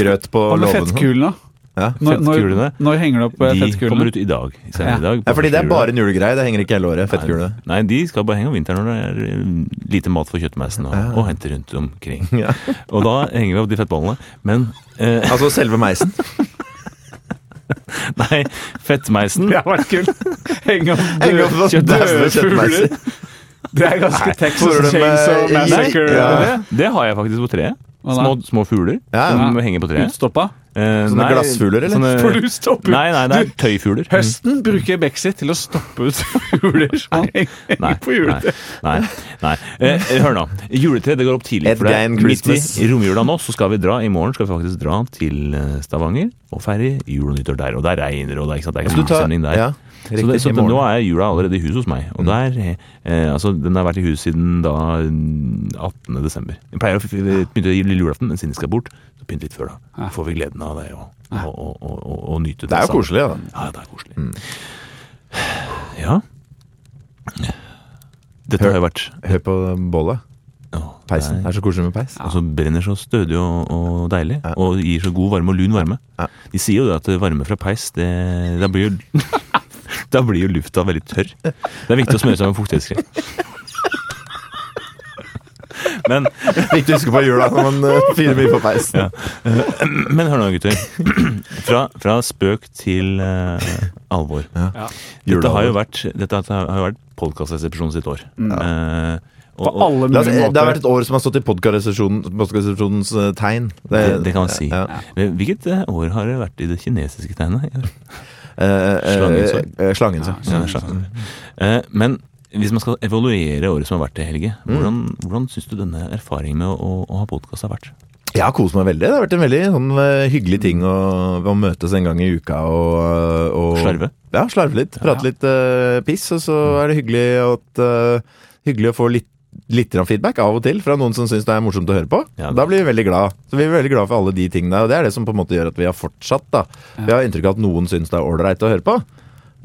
grøt på
Hva med
låven.
fettkulene?
Ja.
Når, når,
Fettkulene.
når henger du opp eh,
De kommer
fettkulene?
ut i dag. senere i dag
Ja, fordi det er
første
bare en julegreie. Det henger ikke hele året. Fettkule.
juledag. Nei, de skal bare henge om vinteren når det er eh, lite mat for kjøttmeisen og, og hente rundt omkring.
Ja.
Og da henger vi opp de fettballene. Men eh,
Altså selve meisen.
nei, fettmeisen
Det har vært kult. Henge opp
Henge opp
døde
noen døde
døde fugler.
kjøttmeiser.
Det er ganske
får du
Texas
det med-
Chainsaw
Nei,
Massacre.
ja.
eller?
det, det har jeg faktisk på treet.
Hva da?
Små, små fugler
Ja, ja.
som henger på treet.
Utstoppa.
Eh,
Sånne
nei,
glassfugler, eller?
sånne-
Får du stoppe ut?
Nei, nei, det er tøyfugler. Mm,
Høsten bruker Bexit til å stoppe ut fugler som
Nei,
henger på
nei,
juletre.
nei, nei. Eh, hør nå. Juletre det går opp tidlig.
Ed
For det er
Gein
midt
Christmas.
i romjula nå, så skal vi dra. I morgen skal vi faktisk dra til eh, Stavanger og feire jul og nyttår der. Og der regner og det er ikke sant, det er
Altså, Du tar,
julestemning der.
ja.
Så, det, så det, nå er jula allerede i hus hos meg.
Mm.
Og der, eh, altså, den har vært i hus siden da mm, 18. desember. Jeg pleier å f- f- pynte lille julaften, men siden jeg skal bort, så pynt litt før da.
Ja.
Så får vi gleden av det og, og, og, og, og, og nyte det.
Det er jo
sammen.
koselig, Mm. da.
Ja, det er koselig. Ja. Dette har jo vært
Hør på bålet.
Åh, det
Peisen.
er-
Det er så koselig med peis.
Altså brenner så stødig og, og deilig,
Ja.
og gir så god varme og lun varme.
Ja.
De sier jo det at varme fra peis, det, da, blir jo, da blir jo lufta veldig tørr. Det er viktig å smøre seg med fuktighetskrem. Men,
Viktig å huske på i jula når man eh, fyrer mye på peisen.
men hør nå, gutter. Fra, fra spøk til eh, alvor.
Ja.
Dette har jo vært, dette har jo vært podkastresepsjonen sitt år. Eh, og-
På
og-
alle
La oss-
mulige
Det har vært
måter.
et år som har stått i podkastresepsjonens tegn.
Det, det kan man si.
Ja.
Hvilket eh, år har det vært i det kinesiske tegnet? i år?
Eh, eh,
Slangens år.
eh, Slangens år.
Ja, jeg skjønner. Eh, Men hvis man skal evaluere året som har vært, Helge, hvordan, hvordan syns du denne erfaringen med å, å ha podkast har vært?
Jeg har kost meg veldig. Det har vært en veldig sånn, eh, hyggelig ting å, å møtes en gang i uka og, eh, og
Slarve?
Ja, slarve litt. Prate litt eh, piss, og så er det hyggelig, at, eh, hyggelig å få litt Litt grann feedback av og til fra noen som syns det er morsomt å høre på.
Ja, det-
da blir vi veldig glad Så vi er veldig glad for alle de tingene. Og det er det som på en måte gjør at vi har fortsatt. da Vi har inntrykk av at noen syns det er ålreit å høre på.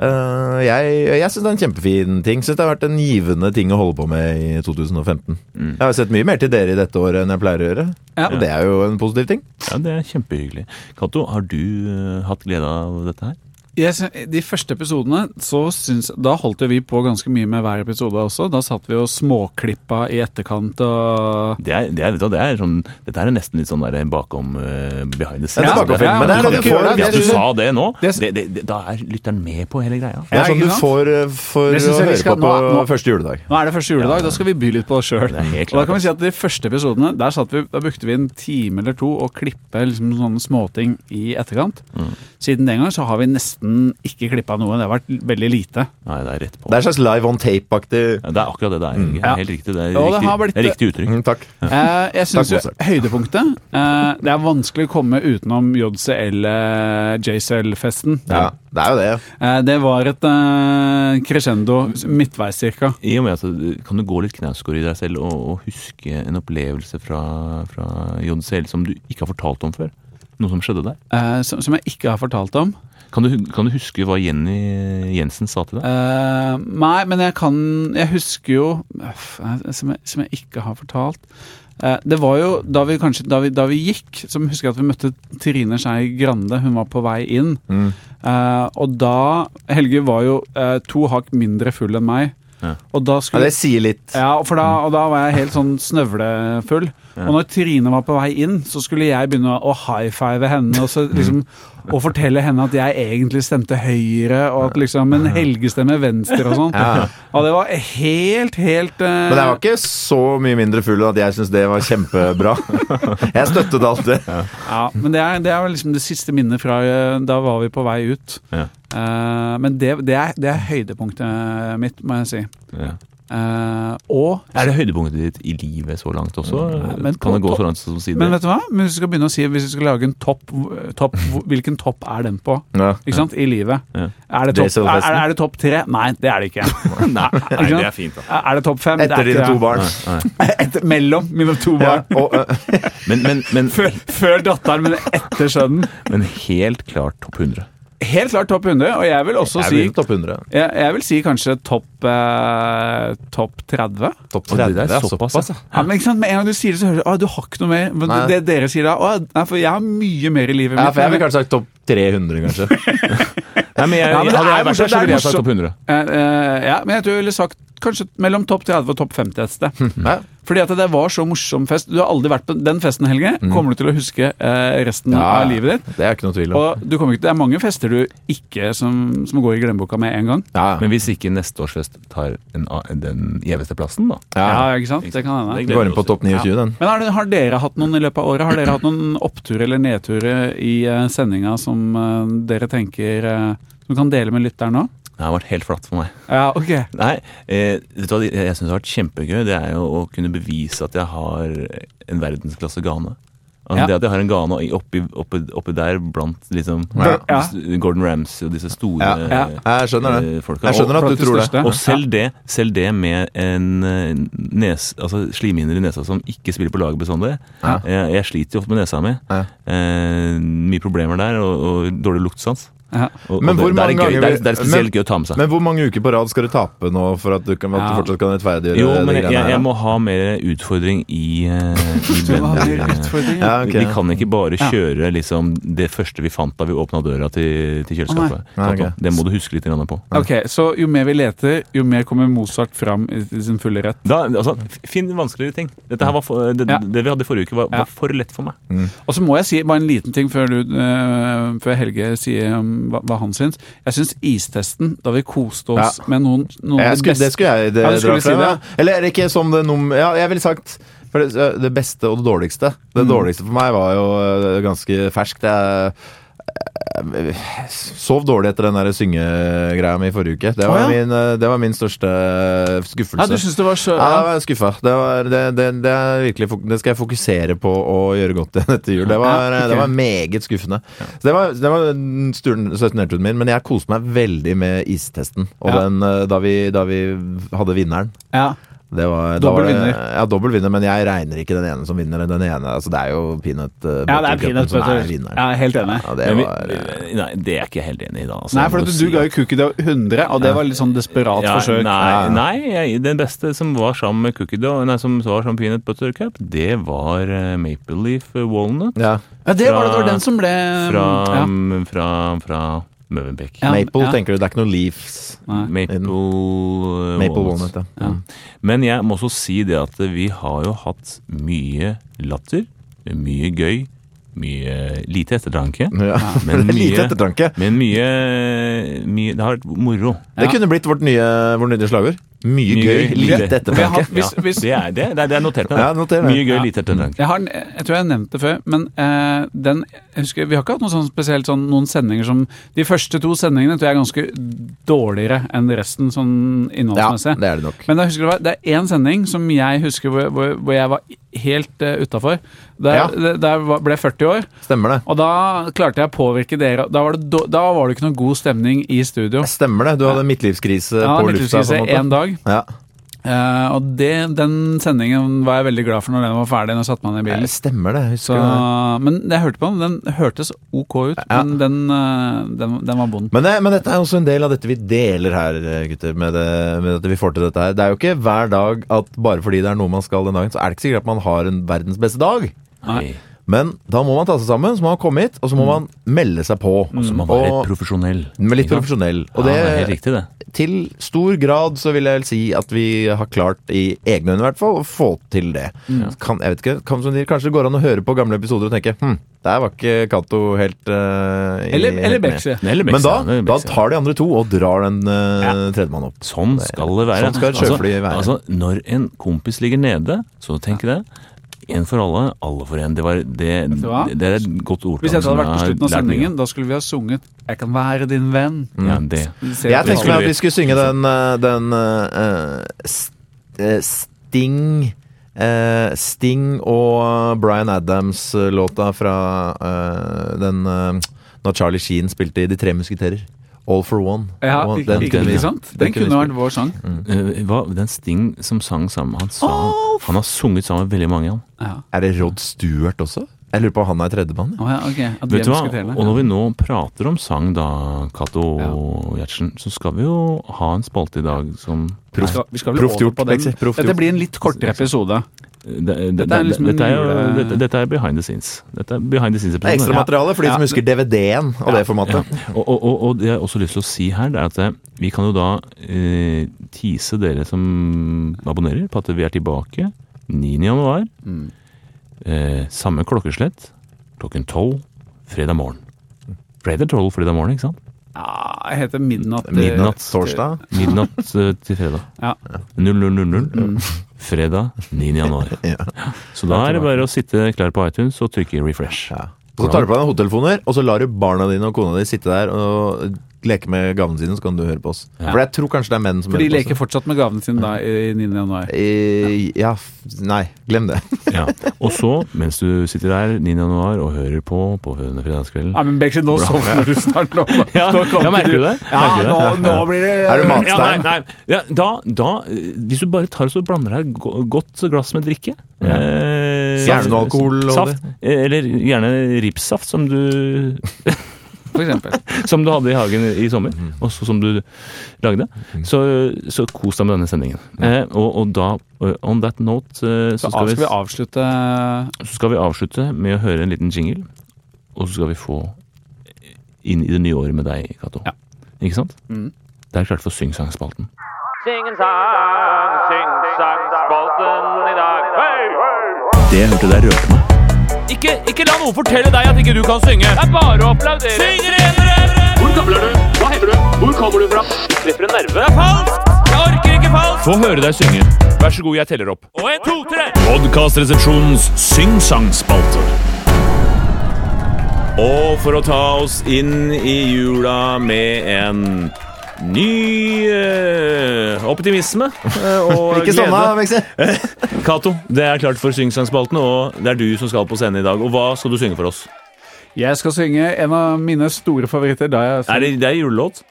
Eh, jeg jeg syns det er en kjempefin ting. Syns det har vært en givende ting å holde på med i 2015. Jeg har sett mye mer til dere i dette året enn jeg pleier å gjøre.
Ja.
Og det er jo en positiv ting.
Ja, det er kjempehyggelig. Cato, har du eh, hatt glede av dette her?
Jeg sy- de første episodene, så syns, da holdt jo vi på ganske mye med hver episode også. Da satt vi og småklippa i etterkant og
Det er, det er, vet du, hva, det er sånn, dette her er nesten litt sånn der bakom eh, behind the scenes.
Ja,
det er bakom filmen, men det er
Du kan-
det du får, det er
Hvis du
det-
sa det nå,
Det er-
det, det, det, da er lytteren med på hele greia.
Det
Ja,
er sånn
ikke
du
sant?
får eh, for
Det
å
synes jeg vi
høre
skal-
på på
nå- nå-
første juledag.
Nå er det første juledag, da skal vi by litt på oss sjøl.
Det er helt
Og da
klart,
kan vi si at De første episodene der satt vi, da brukte vi en time eller to å klippe liksom sånne småting i etterkant.
Mm.
Siden den gang så har vi nesten ikke klippa noe. Det har vært veldig lite.
Nei, det er rett på.
Det er en slags live on tape-aktig
Ja, det er akkurat det det er. Helge. Det
Ja.
er Helt riktig. Det er
Og det
riktig,
har blitt-
det er riktig uttrykk.
mm, Takk.
Eh, jeg synes
Takk,
jo, Høydepunktet eh, Det er vanskelig å komme utenom eh, JCL-JCL-festen.
Ja, det er jo det.
Eh, det var et eh, crescendo midtveis cirka.
I og med at du- Kan du gå litt knausgård i deg selv og, og huske en opplevelse fra, fra JCL som du ikke har fortalt om før? Noe som skjedde der?
Eh, som, som jeg ikke har fortalt om.
Kan du, hu- kan du huske hva Jenny Jensen sa til deg?
Eh, nei, men jeg kan Jeg husker jo øff, eh, Som jeg, som jeg ikke har fortalt. Eh, det var jo da vi, kanskje, da, vi, da vi gikk, som husker jeg at vi møtte Trine Skei Grande. Hun var på vei inn.
Mm.
Eh, og da Helge var jo eh, to hakk mindre full enn meg.
Ja.
Og da
Ja,
skulle
det sier litt.
ja, for da, og da var jeg helt sånn snøvlefull. Og når Trine var på vei inn, så skulle jeg begynne å high-five henne og, så, liksom, og fortelle henne at jeg egentlig stemte høyre, og at liksom en Helge stemmer venstre og sånn.
Ja.
Og det var helt, helt eh,
Men jeg var ikke så mye mindre full enn at jeg syns det var kjempebra. Jeg støttet alt det.
ja, men det er, det er vel liksom det siste minnet fra eh, da var vi på vei ut.
Ja.
Eh, men det, det, er, det er høydepunktet mitt, må jeg si.
Ja.
Eh, og
Er det høydepunktet ditt i livet så langt også?
Ja, men
kan
på-
det gå
på-
så langt som å si det?
Men vet du hva? Men Hvis vi skal begynne å si Hvis vi skal lage en topp, eh, topp Hvilken topp er den på?
Ja.
Ikke sant? I livet.
Ja.
Er, det topp,
Jason
er,
Festen?
er det topp tre? Nei, det er det ikke.
Nei,
Ikke sant?
fint, da.
Er det topp fem? Det er
Etter
ikke
dine
det.
to barn.
Etter, mellom mine
Ja,
to barn.
og, eh,
Men, men, men,
Før, før datteren, men etter sønnen.
men helt klart topp 100.
Helt klart topp 100, og jeg vil også
jeg
si
blir topp 100.
jeg, jeg vil si kanskje topp eh, topp 30.
Topp
Og
30.
det der
ja,
såpass,
såpass, ja.
Ja, men ikke sant? Med en gang du sier det, så hører du at du har ikke noe mer. Men
Nei.
det dere sier da, å, nei, for jeg har mye mer i livet
Ja, for jeg
mitt.
ville kanskje sagt topp 300, kanskje.
Nei, men jeg,
Ja, men det
Eh, hadde
er
jeg vært der, så
morsomt, det er
ville jeg sagt
morsomt.
topp 100.
Eh, eh, ja, men jeg tror jeg ville sagt kanskje mellom topp 30 og topp 50 et sted.
Ja.
Fordi at det var så morsom fest. Du har aldri vært på den festen, Helge.
Mm.
Kommer du til å huske eh, resten
Ja,
av livet ditt?
Det er ikke noe tvil om.
Og du kommer ikke, det er mange fester du ikke som, som går i glemmeboka med en gang.
Ja, ja.
Men hvis ikke neste års fest tar en, a- den gjeveste plassen, da?
Ja.
ikke sant? Det kan
Det
hende.
gleder
Går
vi
inn på
oss til.
topp 29, den.
Men har, det- har dere hatt noen i løpet av året? Har dere hatt noen opptur eller nedturer i eh, sendinga som eh, dere tenker eh, som kan dele med lytteren nå?
Det har vært helt flatt for meg.
Ja, ok.
Nei, eh, vet du hva jeg syns har vært kjempegøy? Det er jo å kunne bevise at jeg har en verdensklasse gane. Altså,
Ja.
Det at jeg har en gane oppi, oppi, oppi der blant liksom
Ja.
Ja.
Gordon Ramsay og disse store
Ja.
Ja.
Jeg skjønner det.
eh, folka.
Jeg
Og,
skjønner at
Blant
du
de
tror det.
største.
og selv, det, selv det med en eh, nes, altså slimhinner i nesa som ikke spiller på lag bestandig.
Ja.
Jeg, jeg sliter jo ofte med nesa mi.
Ja.
Eh, mye problemer der, og, og dårlig luktsans.
Ja.
Og,
Men
og
hvor
det, det, er
mange
gøy,
ganger
det, er,
vi-
det er spesielt
men-
gøy å ta med seg.
Men hvor mange uker på rad skal du tape nå for at du, kan, at du
Ja.
fortsatt kan rettferdiggjøre
jo, men
de
jeg,
greiene her,
jeg
da?
må ha mer utfordring i, eh, i
Det var
bender-
mer utfordring.
ja,
Ja.
ok.
Vi kan ikke bare
Ja.
kjøre liksom, det første vi fant da vi åpna døra til, til kjøleskapet.
Nei, ok.
Tato, Det må du huske litt grann på.
Ok, Så jo mer vi leter, jo mer kommer Mozart fram i i sin fulle rett.
Da, altså, finn vanskeligere ting. Dette her var for, det,
Ja.
det vi hadde i forrige uke, var,
Ja.
var for lett for meg.
Og så må jeg si bare en liten ting før, du, eh, før Helge sier eh, hva, hva han syns. Jeg syns istesten, da vi koste oss med noen, noen av
Jeg
de
skulle, det
beste-
skulle jeg det,
Ja, du skulle
dra
si
frem,
det.
ja. Eller er det ikke som det num... Ja, jeg ville sagt for det, det beste og det dårligste. Det
Mm.
dårligste for meg var jo øh, ganske ferskt. Jeg, jeg sov dårlig etter den der syngegreia mi i forrige uke. Det var,
Å, ja.
min, øh, det var min største eh,
Ja, du
skuffelse.
syns det var så
Ja, jeg var skuffa. Det, var- det, det, det, er virkelig fok- det skal jeg fokusere på å gjøre godt igjen etter jul. Det var,
Ja, ok.
det var meget skuffende. Så det var, det var den sturen- 17-turen min, men jeg koste meg veldig med istesten. Og
Ja.
den, eh, da, vi, da vi hadde vinneren.
Ja.
Det var, da
Dobbel
var det,
vinner.
Ja, dobbel vinner, men jeg regner ikke den ene som vinner. Den ene, altså Det er jo peanut eh,
ja, det
butter
er peanut
cupen som er
butter.
vinneren.
Jeg er helt enig.
Ja, det
Men
var,
vi,
eh,
nei, det er ikke jeg helt enig i da. altså.
Nei,
Jeg
for
må
at
si
du ga jo Cookie Dough 100, og det var litt sånn desperat
Ja,
forsøk.
Nei, nei jeg, den beste som var sammen med cookie dough, nei, som var som peanut butter cup, det var eh, maple leaf walnut
ja.
Ja, det var det, det
Fra-
var den som ble
fra,
Um, ja.
fra, fra Møvenbeek.
Ja,
Maple,
ja.
tenker du. Det er ikke noe leaves.
Nei.
Maple, eh,
Maple
walnut.
walnut, ja.
Ja.
Men jeg må også si det at vi har jo hatt mye latter, mye gøy, mye lite ettertanke.
ja.
Men
det er lite
mye-
ettertanke.
Men mye, mye Det har vært moro.
Det
Ja.
kunne blitt vårt nye, vår nye slagord.
Mye
Mye, gøy,
gøy,
litt
lite.
Vi har
ettertanke.
hatt- hvis,
Ja,
hvis,
det, er, det, det er- det er notert med.
Ja, noter det.
Mye gøy,
Ja.
lite ettertanke.
jeg, har, den- jeg tror jeg har nevnt det før, men eh, den jeg husker, Vi har ikke hatt noen sånn spesielt sånn, noen sendinger som De første to sendingene tror jeg er ganske dårligere enn resten sånn
Ja,
innholdsmessig.
det er det nok.
Men jeg husker det, var, det er én sending som jeg husker hvor, hvor, hvor jeg var helt uh, utafor. Der,
Ja.
der- der var- ble jeg 40 år,
Stemmer det.
og da klarte jeg å påvirke dere. Da var det, då- da var det ikke noen god stemning i studio.
Stemmer det. Du hadde midtlivskrise
Ja,
på lufta. på
midtlivskrise
en måte.
én dag.
Ja.
Eh, og det, den sendingen var jeg veldig glad for når den var ferdig. Når jeg satte meg ned i
Nei,
bilen.
Stemmer det. jeg
Så,
Husker det.
men jeg hørte på den. Den hørtes ok ut,
Ja.
men den, eh, den, den var vond.
Men, det, men dette er også en del av dette vi deler her, gutter. Med, det, med at vi får til dette her. Det er jo ikke hver dag at bare fordi det er noe man skal den dagen, så er det ikke sikkert at man har en verdens beste dag.
Nei.
Men da må man ta seg sammen, så må man komme hit, og så må man melde seg på.
Mm. Så altså, man var litt
Og,
profesjonell.
men litt
ikke sant?
profesjonell.
ja,
Og
det er helt
det,
riktig, det.
til stor grad så vil jeg vel si at vi har klart, i egne øyne i hvert fall, å få til det.
Mm.
Kan, jeg vet ikke, kan, som de, Kanskje det går an å høre på gamle episoder og tenke hm, der var ikke Cato helt eh, i-
Eller, eller
helt med».
Bexy.
Eller
Men da,
Mexico, eller
da
Mexico.
tar de andre to og drar den eh, tredjemann opp.
Sånn skal det være.
Sånn skal et sjøfly være.
Altså, altså, når en kompis ligger nede, så tenker jeg en for alle, alle for en. Det, var, det,
du hva?
det er et godt ordtak.
Hvis dette
som
hadde vært på
jeg har
slutten
lært
av
mye
sendingen, da skulle vi ha sunget 'Jeg kan være din venn'.
av. Ja, Mm. det.
Ser
Jeg
du
tenkte
hva?
meg at vi skulle synge den, eh, den eh, s- eh, Sting eh, Sting og Bryan Adams-låta fra eh, den eh, Når Charlie Sheen spilte i De tre musketerer. All for one.
ja,
Og
ikke, ikke,
kunne vi-
ikke sant? Den
kunne vi
kunne vært vår sang.
Eh, hva, den Sting som sang sammen Han, sa, han har sunget sammen med veldig mange. Han.
Ja.
spille. Er det Rod Stewart også? Jeg lurer på om han er tredjemann.
Å ja, ok. At
Vet
de
du hva?
musketerene.
Og når vi nå prater om sang, da, Cato
Ja.
og Gjertsen, så skal vi jo ha en spalte i dag som
Vi skal- vi skal vel
Proft
over
gjort,
på den.
Bexy. Proft
Dette
gjort.
blir en litt kortere episode.
det, det,
Dette
det,
er liksom en
dette, er jo,
jule-
dette, dette er behind the scenes. Dette er behind the
Det er
scenes-episoden.
ekstramateriale for de som
Ja.
husker DVD-en og det formatet.
Og, og, og, og det jeg også har lyst til å si her, det er at eh, vi kan jo da eh, tease dere som abonnerer på at vi er tilbake 9. januar. Eh, samme klokkeslett, klokken 12 fredag morgen. Fredag 12 fredag morgen, ikke sant?
Ja, jeg heter Midnatt. eh,
Midnatt torsdag.
Midnatt eh, til fredag.
Ja.
0000.
Mm.
Fredag 9. januar.
Ja.
Så da er det bare å sitte klar på iTunes og trykke refresh.
Ja. Og Så tar du på deg noen hodetelefoner, og så lar du barna dine og kona di sitte der og leker med gavene sine, så kan du høre på oss.
Ja.
For jeg tror kanskje det er menn som
For de
hører
leker
på oss.
fortsatt med gavene sine da i 9. januar.
Eh, ja, f- nei, glem det.
Ja. Og så, mens du sitter der 9. januar og hører på på Fødende fredagskvelden
Nei, men Bexi, nå sovner du snart. Nå,
ja,
nå kom
ja, merker du det?
Ja,
Merker du
nå,
det?
nå blir det
Er
Ja,
du
nei,
matstein?
nei. Ja, da, da, eh, hvis du bare tar og så blander deg et go- godt glass med drikke eh,
Saft
gjerne-
og alkohol og
Saft, eh, eller gjerne ripssaft, som du,
For eksempel.
som du hadde i hagen i sommer, og så som du lagde. Så, så kos deg med denne sendingen. Eh, og, og da, eh, on that note, eh,
Så
så skal
av- skal
vi,
vi avslutte
så skal vi avslutte med å høre en liten jingle, og så skal vi få inn i det nye året med deg, Cato.
Ja.
Ikke sant?
Mhm.
Det er klart for Syngsangspalten.
Sing en sang, syng sangspalten i dag. Hei, hei!
Det jeg hørte der rørte meg. Ikke, la noen fortelle deg at ikke du kan synge. Det er bare å applaudere. Syng renere! Hvor gamler du? Hva heter du? Hvor kommer du fra? Du treffer en nerve. Det er falskt! Jeg orker ikke falskt! Få høre deg synge. Vær så god, jeg teller opp. Og en, to, tre! Podkastresepsjonens syngsangspalte. Og for å ta oss inn i jula med en ny eh, optimisme eh, og
Ikke
glede.
sånn, da, Vexi.
Cato, det er klart for syngsangspalten, og det er du som skal på scenen i dag. Og hva skal du synge for oss?
Jeg skal synge en av mine store favoritter. Da jeg
Er det, det er julelåt?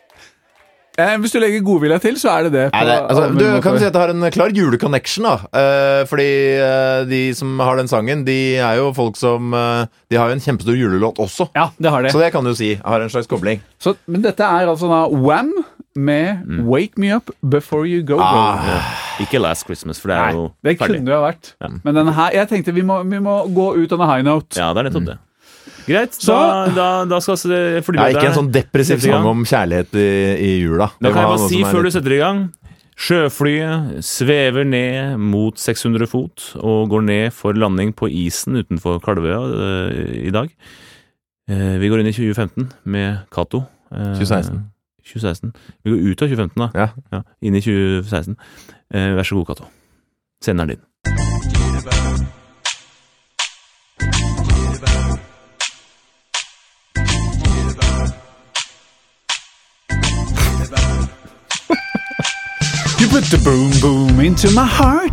eh, hvis du legger godvilja til, så er det det. på
Nei, det, altså,
alle
du
måter.
kan si at det har en klar juleconnection, da. Eh, fordi eh, de som har den sangen, de er jo folk som eh, De har jo en kjempestor julelåt også.
Ja, det har det.
Så det kan du si. Har en slags kobling.
Så, men dette er altså da Wham med Wake Me Up Before You Go Go.
Mm.
Ah.
Ikke Last Christmas, for det er jo
det
ferdig.
kunne det ha vært. Men den her, jeg tenkte vi må, vi må gå ut on a high note.
Ja, det er nettopp det. Greit,
Så-
da, da, da skal eh, jeg
Ja, ikke en sånn depressiv
Sette i gang.
sang om kjærlighet i, i jula.
Da kan jeg bare si før du setter i gang Sjøflyet svever ned mot 600 fot og går ned for landing på isen utenfor Kalvøya eh, i dag. Eh, vi går inn i 2015 med Cato. eh,
2016.
2016. Vi går ut av 2015, da.
Ja.
inn i 2016. Eh, vær så god, Cato. Scenen er din.
You put the boom boom into my heart.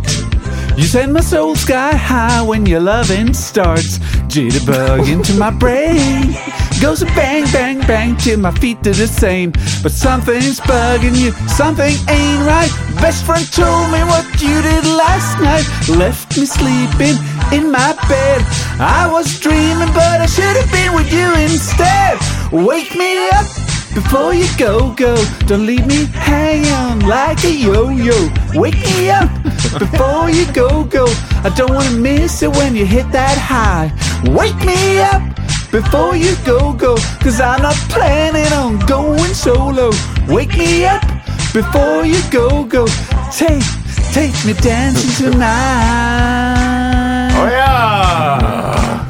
You send my soul sky high when your loving starts. Jitterbug into my brain. Goes a bang, bang, bang till my feet do the same. But something's bugging you, something ain't right. Best friend told me what you did last night. Left me sleeping in my bed. I was dreaming, but I should have been with you instead. Wake me up. Before you go, go, don't leave me hanging like a yo-yo. Wake me up before you go, go. I don't wanna miss it when you hit that high. Wake me up before you go, go, cause I'm not planning on going solo. Wake me up before you go, go. Take, take me dancing tonight.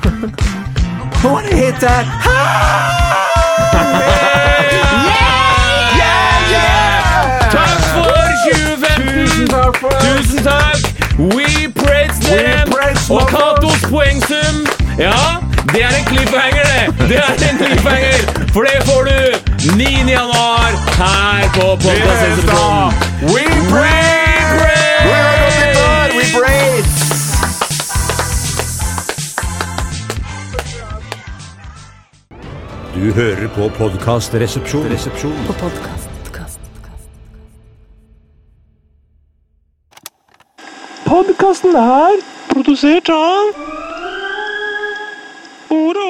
I wanna hit that high. Yeah! Yeah!
Takk for 2015!
Takk for det.
Tusen takk! We praise them!
praise
Og
them.
Katos poengsum, ja, det er en cliffhanger, det! Det er en cliffhanger! For det får du 9. januar her på Podkastresepsjonen. We praise!
We praise!
Du hører på Podkastresepsjon.
På podkast.
Podkasten er produsert av Ord